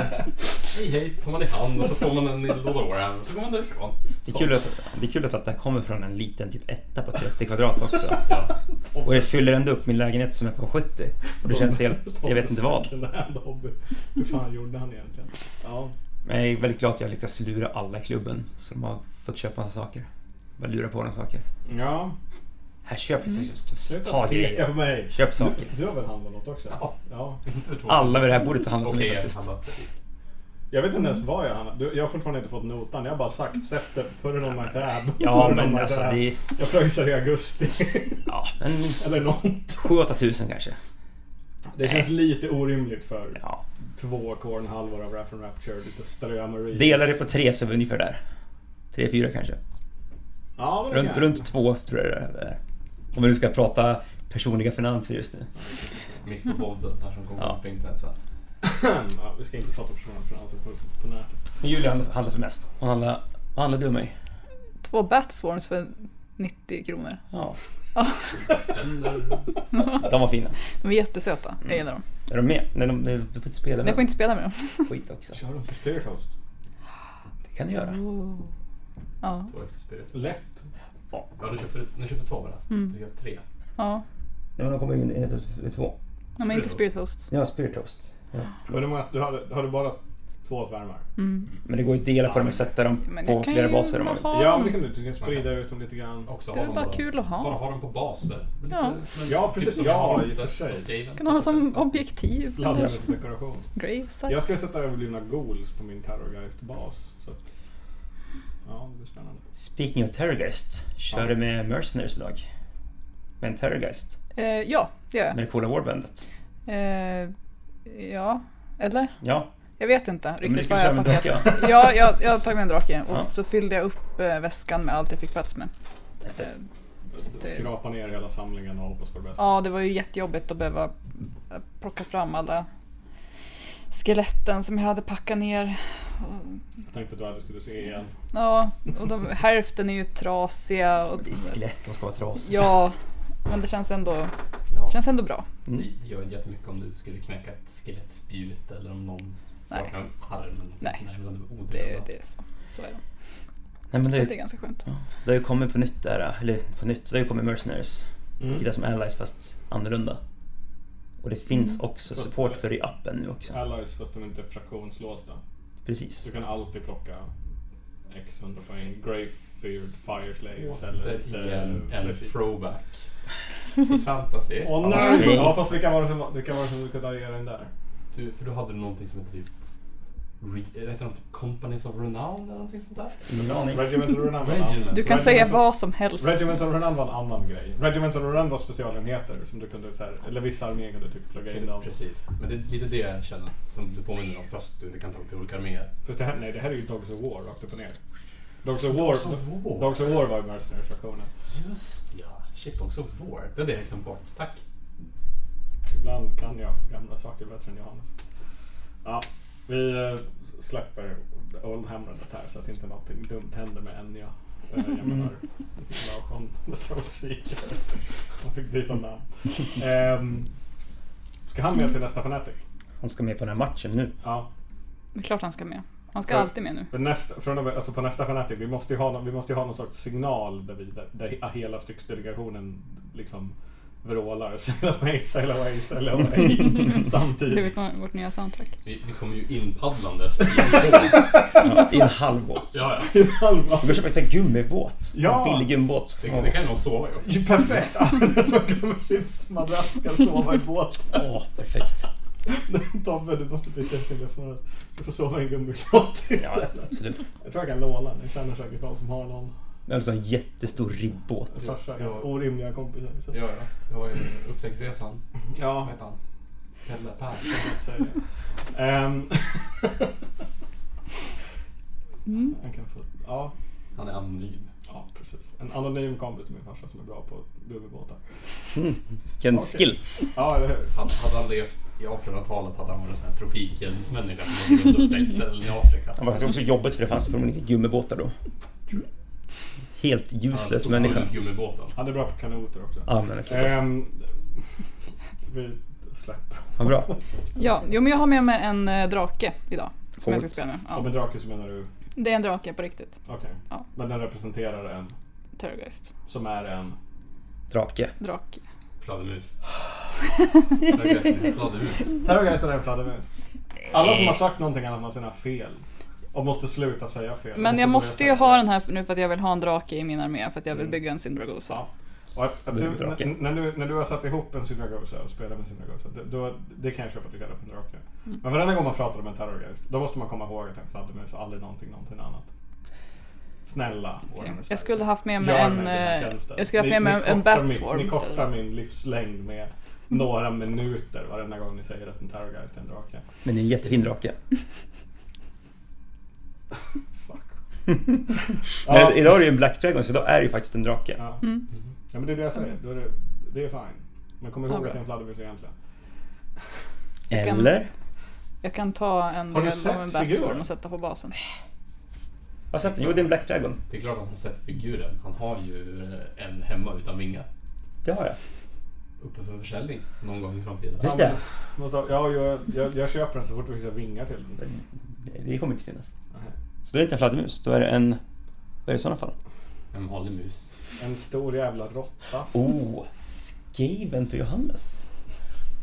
[SPEAKER 4] hej hej, tar man i hand och så får man en låda Warhammer och så går man därifrån.
[SPEAKER 3] Det är, kul att, det är kul att allt det här kommer från en liten typ etta på 30 kvadrat också.
[SPEAKER 4] Ja.
[SPEAKER 3] Och det fyller ändå upp min lägenhet som är på 70. Och det känns helt, jag vet inte vad.
[SPEAKER 1] Second hand hobby. Hur fan gjorde han egentligen? Ja.
[SPEAKER 3] Men jag är väldigt glad att jag lyckats lura alla i klubben som har fått köpa massa saker. Bara lura på dem saker.
[SPEAKER 1] Ja.
[SPEAKER 3] Här, köp lite.
[SPEAKER 1] Sluta
[SPEAKER 3] Ta
[SPEAKER 1] peka på
[SPEAKER 3] grejer.
[SPEAKER 1] mig.
[SPEAKER 3] Köp
[SPEAKER 1] Du,
[SPEAKER 3] saker.
[SPEAKER 1] du har väl handlat något också?
[SPEAKER 4] Ja.
[SPEAKER 1] ja.
[SPEAKER 4] Inte för två.
[SPEAKER 3] Alla vid det här bordet har handlat om
[SPEAKER 4] Okej,
[SPEAKER 3] det
[SPEAKER 4] jag
[SPEAKER 3] faktiskt.
[SPEAKER 4] handlar för-
[SPEAKER 1] Jag vet inte ens vad jag handlat. Du, Jag har fortfarande inte fått notan. Jag har bara sagt sätt det, put it on my tab.
[SPEAKER 3] Ja,
[SPEAKER 1] Put it on
[SPEAKER 3] men
[SPEAKER 1] my
[SPEAKER 3] alltså
[SPEAKER 1] tab."
[SPEAKER 3] det är...
[SPEAKER 1] Jag pröjsar i augusti.
[SPEAKER 3] Ja, men
[SPEAKER 1] Eller nånt.
[SPEAKER 3] 7-8 tusen kanske.
[SPEAKER 1] Det känns lite orimligt för
[SPEAKER 3] Ja.
[SPEAKER 1] två kornhalvor av Raff and Rapture. Lite strömaris.
[SPEAKER 3] Delar det på tre så är vi ungefär där. Tre, fyra kanske.
[SPEAKER 1] Ja, men det
[SPEAKER 3] Runt,
[SPEAKER 1] kan.
[SPEAKER 3] runt två tror jag det är. Om vi nu ska prata personliga finanser just nu.
[SPEAKER 4] Mitt på podden här som kommer
[SPEAKER 3] Ja.
[SPEAKER 4] upp på internet sen.
[SPEAKER 1] ja, vi ska inte prata om personliga finanser på, på nätet.
[SPEAKER 3] Men Julia handlar för mest. Hon handlar Vad handlade du mig?
[SPEAKER 2] Två Batswarms för 90 kronor.
[SPEAKER 3] Ja,
[SPEAKER 4] Spännande.
[SPEAKER 3] de var fina.
[SPEAKER 2] De är jättesöta, jag gillar dem.
[SPEAKER 3] Är de med? Nej, de, de, du får inte spela
[SPEAKER 2] Men jag
[SPEAKER 3] med
[SPEAKER 2] får inte spela med dem.
[SPEAKER 3] dem. skit också.
[SPEAKER 1] Kör dem som spirit host.
[SPEAKER 3] Det kan du göra.
[SPEAKER 2] Ja,
[SPEAKER 4] Det var ett spirit.
[SPEAKER 1] Lätt.
[SPEAKER 4] Ja, du köpte, du köpte två bara.
[SPEAKER 2] Mm.
[SPEAKER 4] Du köpte tre.
[SPEAKER 2] ja.
[SPEAKER 3] Nej, men de kommer in i två.
[SPEAKER 2] Ja, men inte Spirit
[SPEAKER 4] Spirit
[SPEAKER 2] Hosts.
[SPEAKER 3] Ja, Spirit Toast. Ja.
[SPEAKER 1] Men du, måste- du hade, hade bara två svärmar?
[SPEAKER 2] Mm.
[SPEAKER 3] Men det går ju att dela på dem och sätta dem
[SPEAKER 2] Men
[SPEAKER 3] på
[SPEAKER 2] jag kan
[SPEAKER 3] flera
[SPEAKER 2] ju
[SPEAKER 3] baser om man vill.
[SPEAKER 2] ha
[SPEAKER 1] Ja,
[SPEAKER 2] dem.
[SPEAKER 1] men det kan du. Du kan sprida ut dem lite grann.
[SPEAKER 4] Också
[SPEAKER 2] Det
[SPEAKER 4] ha
[SPEAKER 2] är
[SPEAKER 4] dem
[SPEAKER 2] bara
[SPEAKER 4] bara-
[SPEAKER 2] kul att
[SPEAKER 4] Bara
[SPEAKER 2] ha.
[SPEAKER 4] ha dem på baser. Men
[SPEAKER 2] Ja.
[SPEAKER 4] men typ
[SPEAKER 1] Ja, precis.
[SPEAKER 4] som
[SPEAKER 1] Ja,
[SPEAKER 4] jag har
[SPEAKER 1] i och
[SPEAKER 4] där
[SPEAKER 1] för sig.
[SPEAKER 4] på skriven.
[SPEAKER 2] Kan ha som objektiv.
[SPEAKER 1] Fladdrar
[SPEAKER 2] Eller
[SPEAKER 1] som dekoration.
[SPEAKER 2] gravesite.
[SPEAKER 1] Jag ska sätta överblivna goals på min terrorgeist-bas. Så att, ja, det blir spännande.
[SPEAKER 3] Speaking of Terrorgeist, kör
[SPEAKER 1] Ja.
[SPEAKER 3] du med Mercenaries idag? Med en Terrorgeist?
[SPEAKER 2] Eh, ja, det gör jag.
[SPEAKER 3] Med det coola warbandet?
[SPEAKER 2] Eh, ja, eller?
[SPEAKER 3] Ja,
[SPEAKER 2] Jag vet inte
[SPEAKER 3] men
[SPEAKER 2] riktigt
[SPEAKER 3] ska
[SPEAKER 2] vad jag
[SPEAKER 3] köra
[SPEAKER 2] har
[SPEAKER 3] med
[SPEAKER 2] packat. Ja, jag, jag har tagit med en drake och
[SPEAKER 3] Ja.
[SPEAKER 2] så fyllde jag upp eh, väskan med allt jag fick plats med.
[SPEAKER 3] häftigt.
[SPEAKER 2] det-
[SPEAKER 1] Skrapa ner hela samlingen och hoppas på det bästa.
[SPEAKER 2] Ja, det var ju jättejobbigt att behöva eh, plocka fram alla skeletten som jag hade packat ner. Och-
[SPEAKER 1] Jag tänkte att du aldrig skulle se igen.
[SPEAKER 2] Ja, och de, hälften är ju trasiga. Och,
[SPEAKER 3] Det är skelett, de ska vara trasiga.
[SPEAKER 2] ja, men det känns ändå,
[SPEAKER 4] Ja.
[SPEAKER 2] känns ändå bra.
[SPEAKER 3] Mm.
[SPEAKER 4] Det det gör inte jättemycket om du skulle knäcka ett skelettspjut eller om någon saknar en arm. eller
[SPEAKER 2] Nej.
[SPEAKER 4] någonting. men de är
[SPEAKER 2] Det,
[SPEAKER 4] odöda.
[SPEAKER 2] det är så. Så är det.
[SPEAKER 3] Nej, men det,
[SPEAKER 2] Det är ganska skönt.
[SPEAKER 3] det har ju kommit på nytt där, eller på nytt, det har ju kommit Mercenaries.
[SPEAKER 1] Mm.
[SPEAKER 3] Det är som Allies fast annorlunda. Och det finns också
[SPEAKER 1] Fast-
[SPEAKER 3] support för det i appen nu också.
[SPEAKER 1] Allies fast de inte är fraktionslåsta. Du
[SPEAKER 3] Precis.
[SPEAKER 1] kan alltid plocka X hundra poäng. Greyfeared, Fireslaves
[SPEAKER 4] Det
[SPEAKER 1] eller
[SPEAKER 4] är
[SPEAKER 1] lite...
[SPEAKER 4] igen en
[SPEAKER 1] flashy.
[SPEAKER 4] throwback till fantasy.
[SPEAKER 1] Åh nej! Ja fast vilka var det som, vilka var det som du kunde ge den där?
[SPEAKER 4] Du, för du hade du någonting som hette typ... Re, heter de typ Companies of Renown eller någonting sånt där?
[SPEAKER 3] Ingen aning.
[SPEAKER 1] Regiment of Renan.
[SPEAKER 4] Regiment.
[SPEAKER 2] Du kan
[SPEAKER 1] Regiment
[SPEAKER 2] säga
[SPEAKER 1] of-
[SPEAKER 2] vad som helst.
[SPEAKER 1] Regiment of Renan var en annan grej. Regiment of Renan var specialenheter som du kunde, så här, eller vissa arméer kunde typ plugga in dem.
[SPEAKER 4] Precis. Men det är lite det jag känner som du påminner om fast du inte kan ta dem till olika arméer.
[SPEAKER 1] Fast det här, nej det här är ju Dogs of War rakt upp och ner. Dogs of War, Dogs of War var ju mercenaries-versionen.
[SPEAKER 4] Just ja. Shit, också War. Det hade jag glömt bort. Tack.
[SPEAKER 1] Ibland kan jag gamla saker bättre än Johannes. Ja, vi eh, släpper Old Hamredet här så att inte någonting dumt händer med Enya. Eh, Jag menar Larsson The Soul Seeker. Han fick byta namn. Ehm, ska han med till nästa Fanatic?
[SPEAKER 3] Han ska med på den här matchen nu.
[SPEAKER 1] Ja.
[SPEAKER 2] Det är klart han ska med. Han ska
[SPEAKER 1] För-
[SPEAKER 2] alltid med nu.
[SPEAKER 1] Men nästa, från och med, alltså på nästa Fanatic, vi måste ju ha någon, vi måste ju ha någon sorts signal där, vi, där, där he- hela stycksdelegationen liksom vrålar sail away, sail away, sail away
[SPEAKER 2] Det
[SPEAKER 1] samtidigt.
[SPEAKER 2] är vårt- vårt nya soundtrack.
[SPEAKER 4] Vi, vi kom ju inpaddlandes i en båt.
[SPEAKER 3] Ja, I en halv båt.
[SPEAKER 4] Ja, ja.
[SPEAKER 1] I halva.
[SPEAKER 3] Vi går och köper en sån här gummibåt.
[SPEAKER 1] Ja.
[SPEAKER 3] En billig gummibåt.
[SPEAKER 4] Det, det kan ju någon sova i också.
[SPEAKER 1] Ju perfekt! Alla som glömmer sin madrass ska sova i båt.
[SPEAKER 3] Åh, perfekt.
[SPEAKER 1] Tobbe, du måste byta ut din luftmadrass. Du får sova i en gummibåt
[SPEAKER 3] Ja,
[SPEAKER 1] istället.
[SPEAKER 3] absolut.
[SPEAKER 1] Jag tror jag kan låna den. Jag känner säkert någon som har någon.
[SPEAKER 3] Vi har en sån här jättestor ribbåt.
[SPEAKER 1] Min farsa har
[SPEAKER 4] Ja.
[SPEAKER 1] haft orimliga kompisar. Så.
[SPEAKER 4] Ja, ja. Det var ju upptäcktsresan. Vad
[SPEAKER 1] ja.
[SPEAKER 4] hette han? Pelle Per.
[SPEAKER 1] jag säger det. Ehm,
[SPEAKER 2] Mm.
[SPEAKER 1] han kan få, ja,
[SPEAKER 4] Han är anonym.
[SPEAKER 1] ja, precis. En anonym kompis till min farsa som är bra på gummibåtar.
[SPEAKER 3] Vilken
[SPEAKER 1] Okej.
[SPEAKER 3] skill.
[SPEAKER 1] Ja, eller hur?
[SPEAKER 4] Hade, hade han levt i 1800-talet hade han varit en sån här tropikhjälmsmänniska som hade upptäckt ställen i Afrika.
[SPEAKER 3] Det var faktiskt också jobbigt för det fanns förmodligen inga gummibåtar då. Helt useless
[SPEAKER 4] Han tog
[SPEAKER 3] människa.
[SPEAKER 4] full Gummibåten.
[SPEAKER 1] Han är bra på kanoter också.
[SPEAKER 3] Ja, men okej.
[SPEAKER 1] Ehm, vi släpper.
[SPEAKER 3] Vad bra.
[SPEAKER 2] Ja, jo, men jag har med mig en eh, drake idag. Som jag ska
[SPEAKER 3] Coolt.
[SPEAKER 2] spela med.
[SPEAKER 1] Och med
[SPEAKER 2] Ja.
[SPEAKER 1] drake så menar du?
[SPEAKER 2] Det är en drake på riktigt.
[SPEAKER 1] Okej.
[SPEAKER 2] Ja.
[SPEAKER 1] Men den representerar en
[SPEAKER 2] Terrorgeist.
[SPEAKER 1] som är en...
[SPEAKER 3] Drake.
[SPEAKER 2] Drake.
[SPEAKER 4] Fladdermus. Fladdermus.
[SPEAKER 2] Mm.
[SPEAKER 1] Terrorgeisten är en fladdermus.
[SPEAKER 2] Eh.
[SPEAKER 1] Alla som har sagt någonting annat har sina fel. Och måste sluta säga fel.
[SPEAKER 2] Men jag måste ju
[SPEAKER 1] börja säga
[SPEAKER 2] ha
[SPEAKER 1] det.
[SPEAKER 2] den här nu för att jag vill ha en drake i min armé. För att jag vill
[SPEAKER 1] Mm.
[SPEAKER 2] bygga en Syndragosa.
[SPEAKER 1] Ja. Och att, att
[SPEAKER 3] Det är
[SPEAKER 1] du,
[SPEAKER 3] en drake.
[SPEAKER 1] n- när, du, när du har satt ihop en synagoga och spelar med synagoga, det, då, det kan jag köpa att du kallar för en drake.
[SPEAKER 2] Mm.
[SPEAKER 1] Men varenda gång man pratar om en terrorgeist, då måste man komma ihåg att det är en fladdermus och aldrig någonting, någonting annat. Snälla
[SPEAKER 2] Okej.
[SPEAKER 1] Warhammer Sverige.
[SPEAKER 2] Jag skulle haft med mig
[SPEAKER 1] Gör
[SPEAKER 2] en...
[SPEAKER 1] mig den här
[SPEAKER 2] eh,
[SPEAKER 1] tjänsten.
[SPEAKER 2] Jag skulle haft
[SPEAKER 1] Ni-
[SPEAKER 2] med mig
[SPEAKER 1] ni
[SPEAKER 2] en- en
[SPEAKER 1] kortar mitt-
[SPEAKER 2] Batswarm
[SPEAKER 1] Ni kortar
[SPEAKER 2] istället.
[SPEAKER 1] min livslängd med några minuter varenda gång ni säger att en terrorgeist är en drake.
[SPEAKER 3] Men det är en jättefin drake.
[SPEAKER 1] Fuck.
[SPEAKER 3] Men idag är det ju en Black Dragon så idag är det ju faktiskt en drake.
[SPEAKER 1] Ja.
[SPEAKER 2] Mm.
[SPEAKER 1] Ja, men det är det jag säger. Då är det, det är fine. Men kom ihåg
[SPEAKER 2] Ja, bra.
[SPEAKER 1] att det är en fladdermus egentligen.
[SPEAKER 2] kan-
[SPEAKER 3] Eller?
[SPEAKER 2] Jag kan ta en
[SPEAKER 1] Har du
[SPEAKER 2] del
[SPEAKER 1] sett
[SPEAKER 2] av en
[SPEAKER 1] figuren?
[SPEAKER 2] Batswarm och sätta på basen.
[SPEAKER 3] Har sett den? Jo, det är en Black Dragon.
[SPEAKER 4] Det är klart att han sett figuren. Han har ju eh, en hemma utan vingar.
[SPEAKER 3] Det har jag.
[SPEAKER 4] Uppe för försäljning någon gång i framtiden.
[SPEAKER 3] Visst det?
[SPEAKER 1] Måste, ha- ja, jag, jag, jag köper den så fort vi fixar vingar till den.
[SPEAKER 3] Det- Det kommer inte finnas.
[SPEAKER 1] Nej.
[SPEAKER 3] Så det är inte en fladdermus, då är det en... Vad är det i sådana fall?
[SPEAKER 4] En håller mus.
[SPEAKER 1] En stor jävla råtta.
[SPEAKER 3] Oh, skaven för Johannes.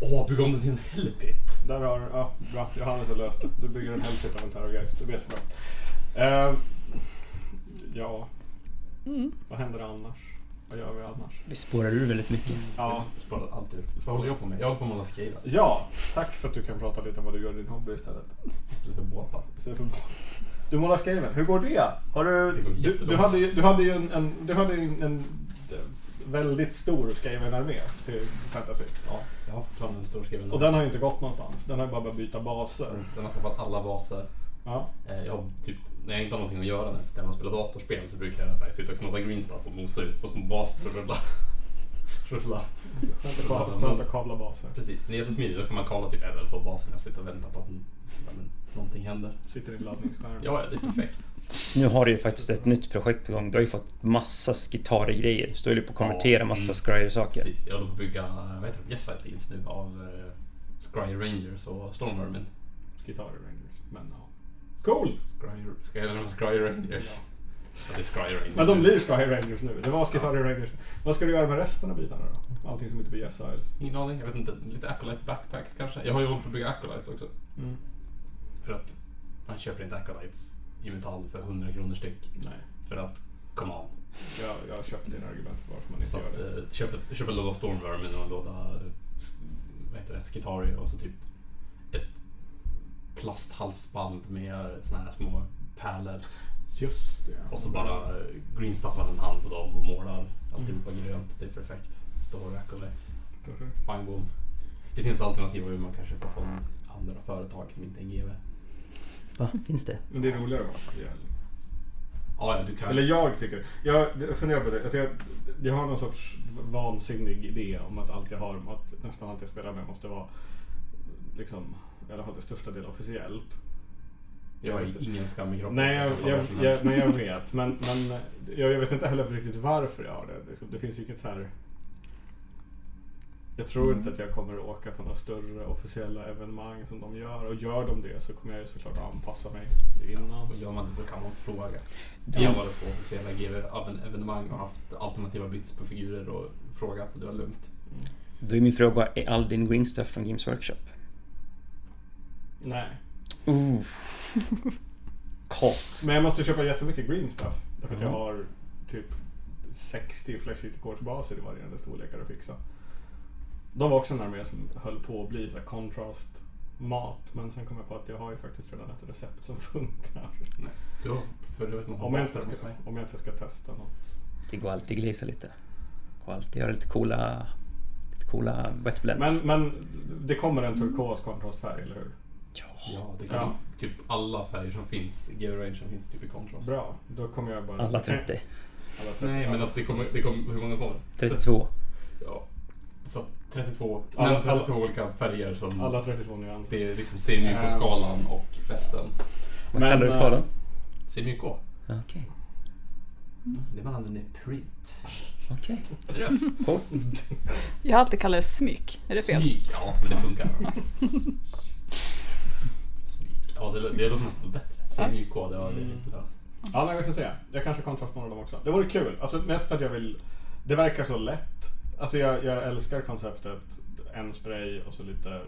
[SPEAKER 4] Åh, bygg om den till en hellpit!
[SPEAKER 1] Där har du, ja bra. Johannes har löst det. Du bygger en hel typ av en terrorgeist. Det är jättebra. Eh, ja,
[SPEAKER 2] Mm.
[SPEAKER 1] vad händer annars? Vad gör vi annars?
[SPEAKER 3] Vi spårar ur väldigt mycket.
[SPEAKER 1] Ja,
[SPEAKER 4] Spara allt ur. Vad håller jag på med? Jag håller på med att skriva.
[SPEAKER 1] ja tack för att du kan prata lite om vad du gör i din hobby istället.
[SPEAKER 4] Istället för båtar.
[SPEAKER 1] Istället för du målar skriven. Hur går det? Har du,
[SPEAKER 4] Det går
[SPEAKER 1] du, du,
[SPEAKER 4] jättedåligt.
[SPEAKER 1] hade, ju- du hade ju en, en, du hade ju en, en eh, väldigt stor skriven armé till fantasy.
[SPEAKER 4] Ja, jag har fortfarande en stor skriven.
[SPEAKER 1] Och den har ju inte gått någonstans. Den har ju bara börjat byta baser.
[SPEAKER 4] Den har tappat alla baser.
[SPEAKER 1] Ja.
[SPEAKER 4] Eh, Jag, har typ, när jag inte har någonting att göra när jag sitter hemma och spelar datorspel så brukar jag så här, sitta och knåda greenstuff och mosa ut på små baser och rulla. rulla.
[SPEAKER 1] Skönt att kavla- Skönt att kavla baser.
[SPEAKER 4] Precis, men det är jättesmidigt. Då kan man kavla typ en eller två baser när jag sitter och väntar på att n- ja, men någonting händer.
[SPEAKER 1] Sitter i en laddningsskärm.
[SPEAKER 4] Ja, ja, det är perfekt.
[SPEAKER 3] Fast Nu har du ju faktiskt ett nytt projekt på gång. Du har ju fått massa gitarrgrejer. Så du håller på att konvertera
[SPEAKER 4] Ja,
[SPEAKER 3] massa
[SPEAKER 4] mm.
[SPEAKER 3] Scryer-saker.
[SPEAKER 4] Precis, jag håller på att bygga vad heter de? Yes Side Leaves nu av eh, Scry Rangers och Storm Vermin.
[SPEAKER 1] Guitar Rangers. Men ja. Coolt!
[SPEAKER 4] Scry, ska jag nämna Scry Rangers? Ja, det är Scry Rangers.
[SPEAKER 1] Men de blir Sky Rangers nu. Det var Guitar Rangers. Vad ska du göra med resten av bitarna då? Allting som inte blir Yes Isles.
[SPEAKER 4] Ingen aning, jag vet inte. Lite Acolyte Backpacks kanske? Jag har ju hållit på att bygga Acolytes också.
[SPEAKER 1] Mm.
[SPEAKER 4] För att man köper inte Acolytes i metall för 100 kronor styck.
[SPEAKER 1] Nej,
[SPEAKER 4] För att, come on.
[SPEAKER 1] jag, jag köpte dina argument för varför man inte
[SPEAKER 4] Så
[SPEAKER 1] gör
[SPEAKER 4] att,
[SPEAKER 1] det.
[SPEAKER 4] eh, köp, ett- köp en låda Storm Vermin och en låda eh, s- vad heter det, Skitari och så typ ett plasthalsband med såna här små pärlor.
[SPEAKER 1] Just det.
[SPEAKER 4] eh, Och så bara eh, greenstuffar en hand på dem och målar alltihopa
[SPEAKER 1] Mm.
[SPEAKER 4] grönt. Det är perfekt. Då har du Acolytes. Bang boom. Det finns alternativ hur man kan köpa från andra företag som inte är GW.
[SPEAKER 3] Va? Finns det?
[SPEAKER 1] Men det är roligare att vara speciell.
[SPEAKER 4] Ah, Ja, ja, du kan.
[SPEAKER 1] Eller jag tycker. Jag funderar på det. Alltså jag, jag har någon sorts vansinnig idé om att allt jag har, att nästan allt jag spelar med måste vara liksom, i alla fall till största del officiellt.
[SPEAKER 4] jag har ingen skam i kroppen.
[SPEAKER 1] Nej,
[SPEAKER 4] så
[SPEAKER 1] jag,
[SPEAKER 4] kan ta
[SPEAKER 1] jag,
[SPEAKER 4] vad som
[SPEAKER 1] jag,
[SPEAKER 4] helst.
[SPEAKER 1] nej, jag vet. Men, men jag, jag vet inte heller riktigt varför jag har det. Liksom, Det finns ju inget så här... Jag tror inte att jag kommer att åka på några större officiella evenemang som de gör. Och gör de det så kommer jag ju såklart att anpassa mig innan.
[SPEAKER 4] Och gör man det så kan man fråga.
[SPEAKER 3] Du-
[SPEAKER 4] Jag har varit på officiella GW-evenemang och haft alternativa bits på figurer och frågat och det var lugnt.
[SPEAKER 3] Då är min fråga, är all din green stuff från Games Workshop?
[SPEAKER 1] Nej.
[SPEAKER 3] Ooh. Caught.
[SPEAKER 1] Men jag måste köpa jättemycket green stuff. Därför att jag
[SPEAKER 3] Mm.
[SPEAKER 1] har typ 60 Flash baser i varierande storlekar att fixa. De var också en armé som höll på att bli så här contrast mat. Men sen kom jag på att jag har ju faktiskt redan ett recept som funkar.
[SPEAKER 4] Du har för du vet man har
[SPEAKER 1] Om jag, inte
[SPEAKER 4] baser
[SPEAKER 1] ska,
[SPEAKER 4] hos mig.
[SPEAKER 1] om jag inte ska testa något.
[SPEAKER 3] Det går alltid att glisa lite. Det går alltid att göra lite coola... Lite coola wet
[SPEAKER 1] Men,
[SPEAKER 3] blends.
[SPEAKER 1] men det kommer en turkos kontrastfärg, eller hur?
[SPEAKER 4] Ja, det kan
[SPEAKER 1] Ja.
[SPEAKER 4] typ alla färger som finns. GW-rangen finns typ i contrast.
[SPEAKER 1] Bra, då kommer jag bara...
[SPEAKER 3] Alla 30.
[SPEAKER 1] Alla 30.
[SPEAKER 4] Nej, men alltså det kommer, det kommer, hur många kommer
[SPEAKER 3] 32.
[SPEAKER 4] Ja. Så 32,
[SPEAKER 1] Alla-
[SPEAKER 4] alla, 32 olika färger som...
[SPEAKER 1] alla 32 nyanser.
[SPEAKER 4] alltså det är liksom CMYK på
[SPEAKER 1] Ehm.
[SPEAKER 4] skalan och resten.
[SPEAKER 3] Vad
[SPEAKER 1] Men,
[SPEAKER 3] kallar du
[SPEAKER 1] eh,
[SPEAKER 3] skalan?
[SPEAKER 4] CMYK.
[SPEAKER 3] Ja, Okej.
[SPEAKER 4] Det man använder print.
[SPEAKER 3] Okej.
[SPEAKER 4] Är det det?
[SPEAKER 2] Jag har alltid kallat det smyck. Är det fel?
[SPEAKER 4] Smyk, ja men det funkar. Smyk. Ja, det, lå- det låter nästan bättre. CMYK, det var det.
[SPEAKER 1] Mm.
[SPEAKER 4] Ja.
[SPEAKER 1] Ja, nej, vi får se. Jag kanske kontrastmålar dem också. Det vore kul. Alltså mest för att jag vill... Det verkar så lätt. Alltså jag, jag älskar konceptet. En spray och så lite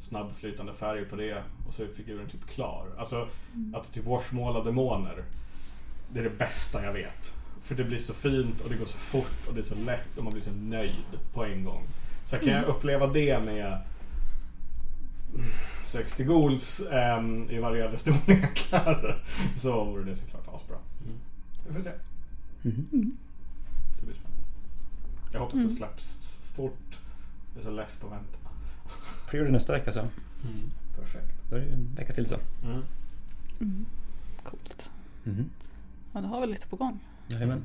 [SPEAKER 1] snabbflytande färg på det. Och så är figuren typ klar. Alltså
[SPEAKER 2] Mm.
[SPEAKER 1] att typ washmåla demoner. Det är det bästa jag vet. För det blir så fint och det går så fort och det är så lätt och man blir så nöjd på en gång. Så kan jag uppleva det med 60 goals ehm, i varierade storlekar så vore det såklart asbra.
[SPEAKER 4] Mm.
[SPEAKER 1] Vi får se.
[SPEAKER 3] Mhm.
[SPEAKER 2] Mm.
[SPEAKER 1] Det blir spännande. Jag hoppas det släpps fort. Jag är så less på att vänta.
[SPEAKER 3] Pre-order nästa vecka så.
[SPEAKER 4] Mm.
[SPEAKER 1] Perfekt.
[SPEAKER 3] Då är det ju en vecka till så.
[SPEAKER 1] Mm.
[SPEAKER 2] Mm. Coolt.
[SPEAKER 3] Mhm.
[SPEAKER 2] Ja, då har vi lite på gång.
[SPEAKER 3] Jajamän.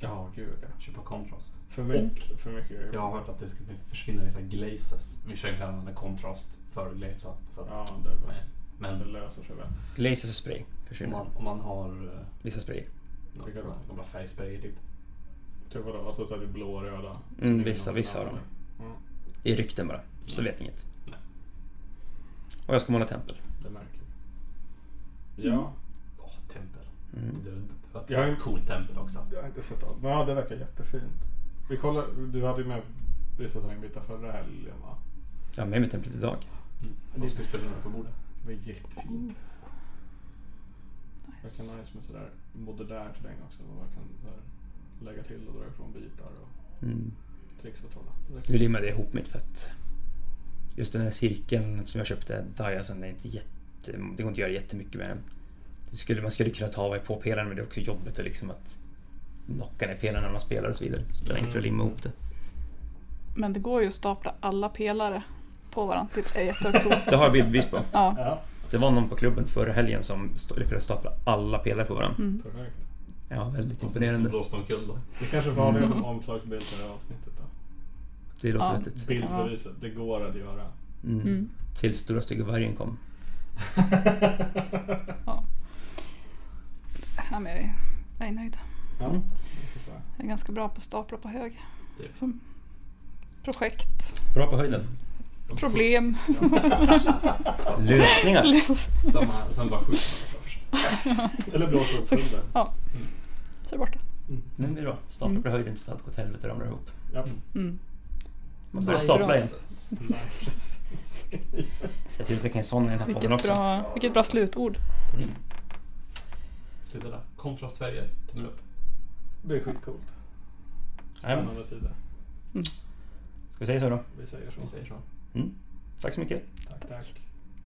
[SPEAKER 1] Ja, gud ja.
[SPEAKER 4] Köpa contrast.
[SPEAKER 1] För mycket, för mycket grejer.
[SPEAKER 4] Jag har hört att det ska försvinna vissa glazes. Vi försöker använda contrast för glaza. Så att,
[SPEAKER 1] Ja, det,
[SPEAKER 4] nej.
[SPEAKER 1] det
[SPEAKER 4] Men
[SPEAKER 1] löser sig väl.
[SPEAKER 3] Glazes och spray.
[SPEAKER 4] Om
[SPEAKER 3] försvinner.
[SPEAKER 1] Mm.
[SPEAKER 4] man, om man har eh,
[SPEAKER 3] Vissa sprayer.
[SPEAKER 4] någon
[SPEAKER 1] Vilka
[SPEAKER 4] sån här
[SPEAKER 1] då?
[SPEAKER 4] gamla färgsprayer typ.
[SPEAKER 1] Typ vadå? Alltså så här, det blå och röda?
[SPEAKER 3] Mm, vissa, vissa av dem.
[SPEAKER 1] Mm,
[SPEAKER 3] I rykten bara, så
[SPEAKER 4] Mm.
[SPEAKER 3] vet inget.
[SPEAKER 4] Nej.
[SPEAKER 3] Och jag ska måla tempel.
[SPEAKER 1] det märker vi. Ja,
[SPEAKER 4] Åh, tempel.
[SPEAKER 3] Mm.
[SPEAKER 4] Det var ett
[SPEAKER 1] Jag har ju-
[SPEAKER 4] väldigt coolt tempel också.
[SPEAKER 1] det har jag inte sett av. Men ja, det verkar jättefint. Vi kollar, du hade ju med vissa terrängbitar förra helgen va?
[SPEAKER 3] Jag har med mig templet idag.
[SPEAKER 4] De skulle spela några på bordet.
[SPEAKER 1] Det var jättefint.
[SPEAKER 2] Nice.
[SPEAKER 1] Verkar nice med sådär modulär terräng också. Och man kan så här, lägga till och dra ifrån bitar och
[SPEAKER 3] Mm.
[SPEAKER 1] trixa och trolla. Det verkar-
[SPEAKER 3] Nu limmade jag ihop mitt för att just den här cirkeln som jag köpte, Diasen, är inte jätte, det går inte att göra jättemycket med den. Det skulle, man skulle kunna ta på pelaren men det är också jobbigt att, liksom att knocka ner pelaren när man spelar och så vidare. Så det är enklare att limma ihop det.
[SPEAKER 2] Men det går ju att stapla alla pelare på varandra till ett oktober.
[SPEAKER 3] Det har jag bildbevis på.
[SPEAKER 2] Ja.
[SPEAKER 1] Ja,
[SPEAKER 3] Det var någon på klubben förra helgen som st- lyckades stapla alla pelare på varandra.
[SPEAKER 2] Mm.
[SPEAKER 1] perfekt.
[SPEAKER 3] Ja, väldigt
[SPEAKER 4] Och sen så
[SPEAKER 3] imponerande.
[SPEAKER 4] blåste de kul då.
[SPEAKER 1] Det kanske var det
[SPEAKER 3] Mm.
[SPEAKER 1] som omslagsbild till det här avsnittet då.
[SPEAKER 3] Det låter
[SPEAKER 2] Ja.
[SPEAKER 3] vettigt.
[SPEAKER 2] kan vara.
[SPEAKER 1] Bildbeviset, det går att göra.
[SPEAKER 3] Mm.
[SPEAKER 2] Mm.
[SPEAKER 3] Till stora stycken vargen kom.
[SPEAKER 2] Ja, men jag är- jag är nöjd.
[SPEAKER 1] Ja,
[SPEAKER 3] Mm.
[SPEAKER 1] det förstår jag.
[SPEAKER 2] Jag är ganska bra på att stapla på hög.
[SPEAKER 4] Typ.
[SPEAKER 2] Som projekt,
[SPEAKER 3] Bra på höjden.
[SPEAKER 2] problem.
[SPEAKER 3] Lösningar.
[SPEAKER 4] Samma, sen bara skjuter man framför sig.
[SPEAKER 1] Eller blåsa upp hunden.
[SPEAKER 2] Så är det borta.
[SPEAKER 1] Mm.
[SPEAKER 3] Men det är bra. Stapla på
[SPEAKER 2] Mm.
[SPEAKER 3] höjden tills allt går åt helvete och ramlar ihop.
[SPEAKER 1] Japp.
[SPEAKER 4] Mm.
[SPEAKER 2] Mm.
[SPEAKER 3] Man börjar stapla igen.
[SPEAKER 1] Lifeless.
[SPEAKER 3] Jag tror att jag kan somna i den här podden
[SPEAKER 2] Vilket,
[SPEAKER 3] också. Mm.
[SPEAKER 2] bra, vilket bra slutord.
[SPEAKER 4] Sluta där. Kontrastfärger, tummen upp.
[SPEAKER 1] Det är skitcoolt.
[SPEAKER 3] Jajamän.
[SPEAKER 1] Spännande tider.
[SPEAKER 3] Ska vi säga så då?
[SPEAKER 1] Vi säger så.
[SPEAKER 4] Vi säger så.
[SPEAKER 3] Tack så mycket.
[SPEAKER 1] Tack, tack.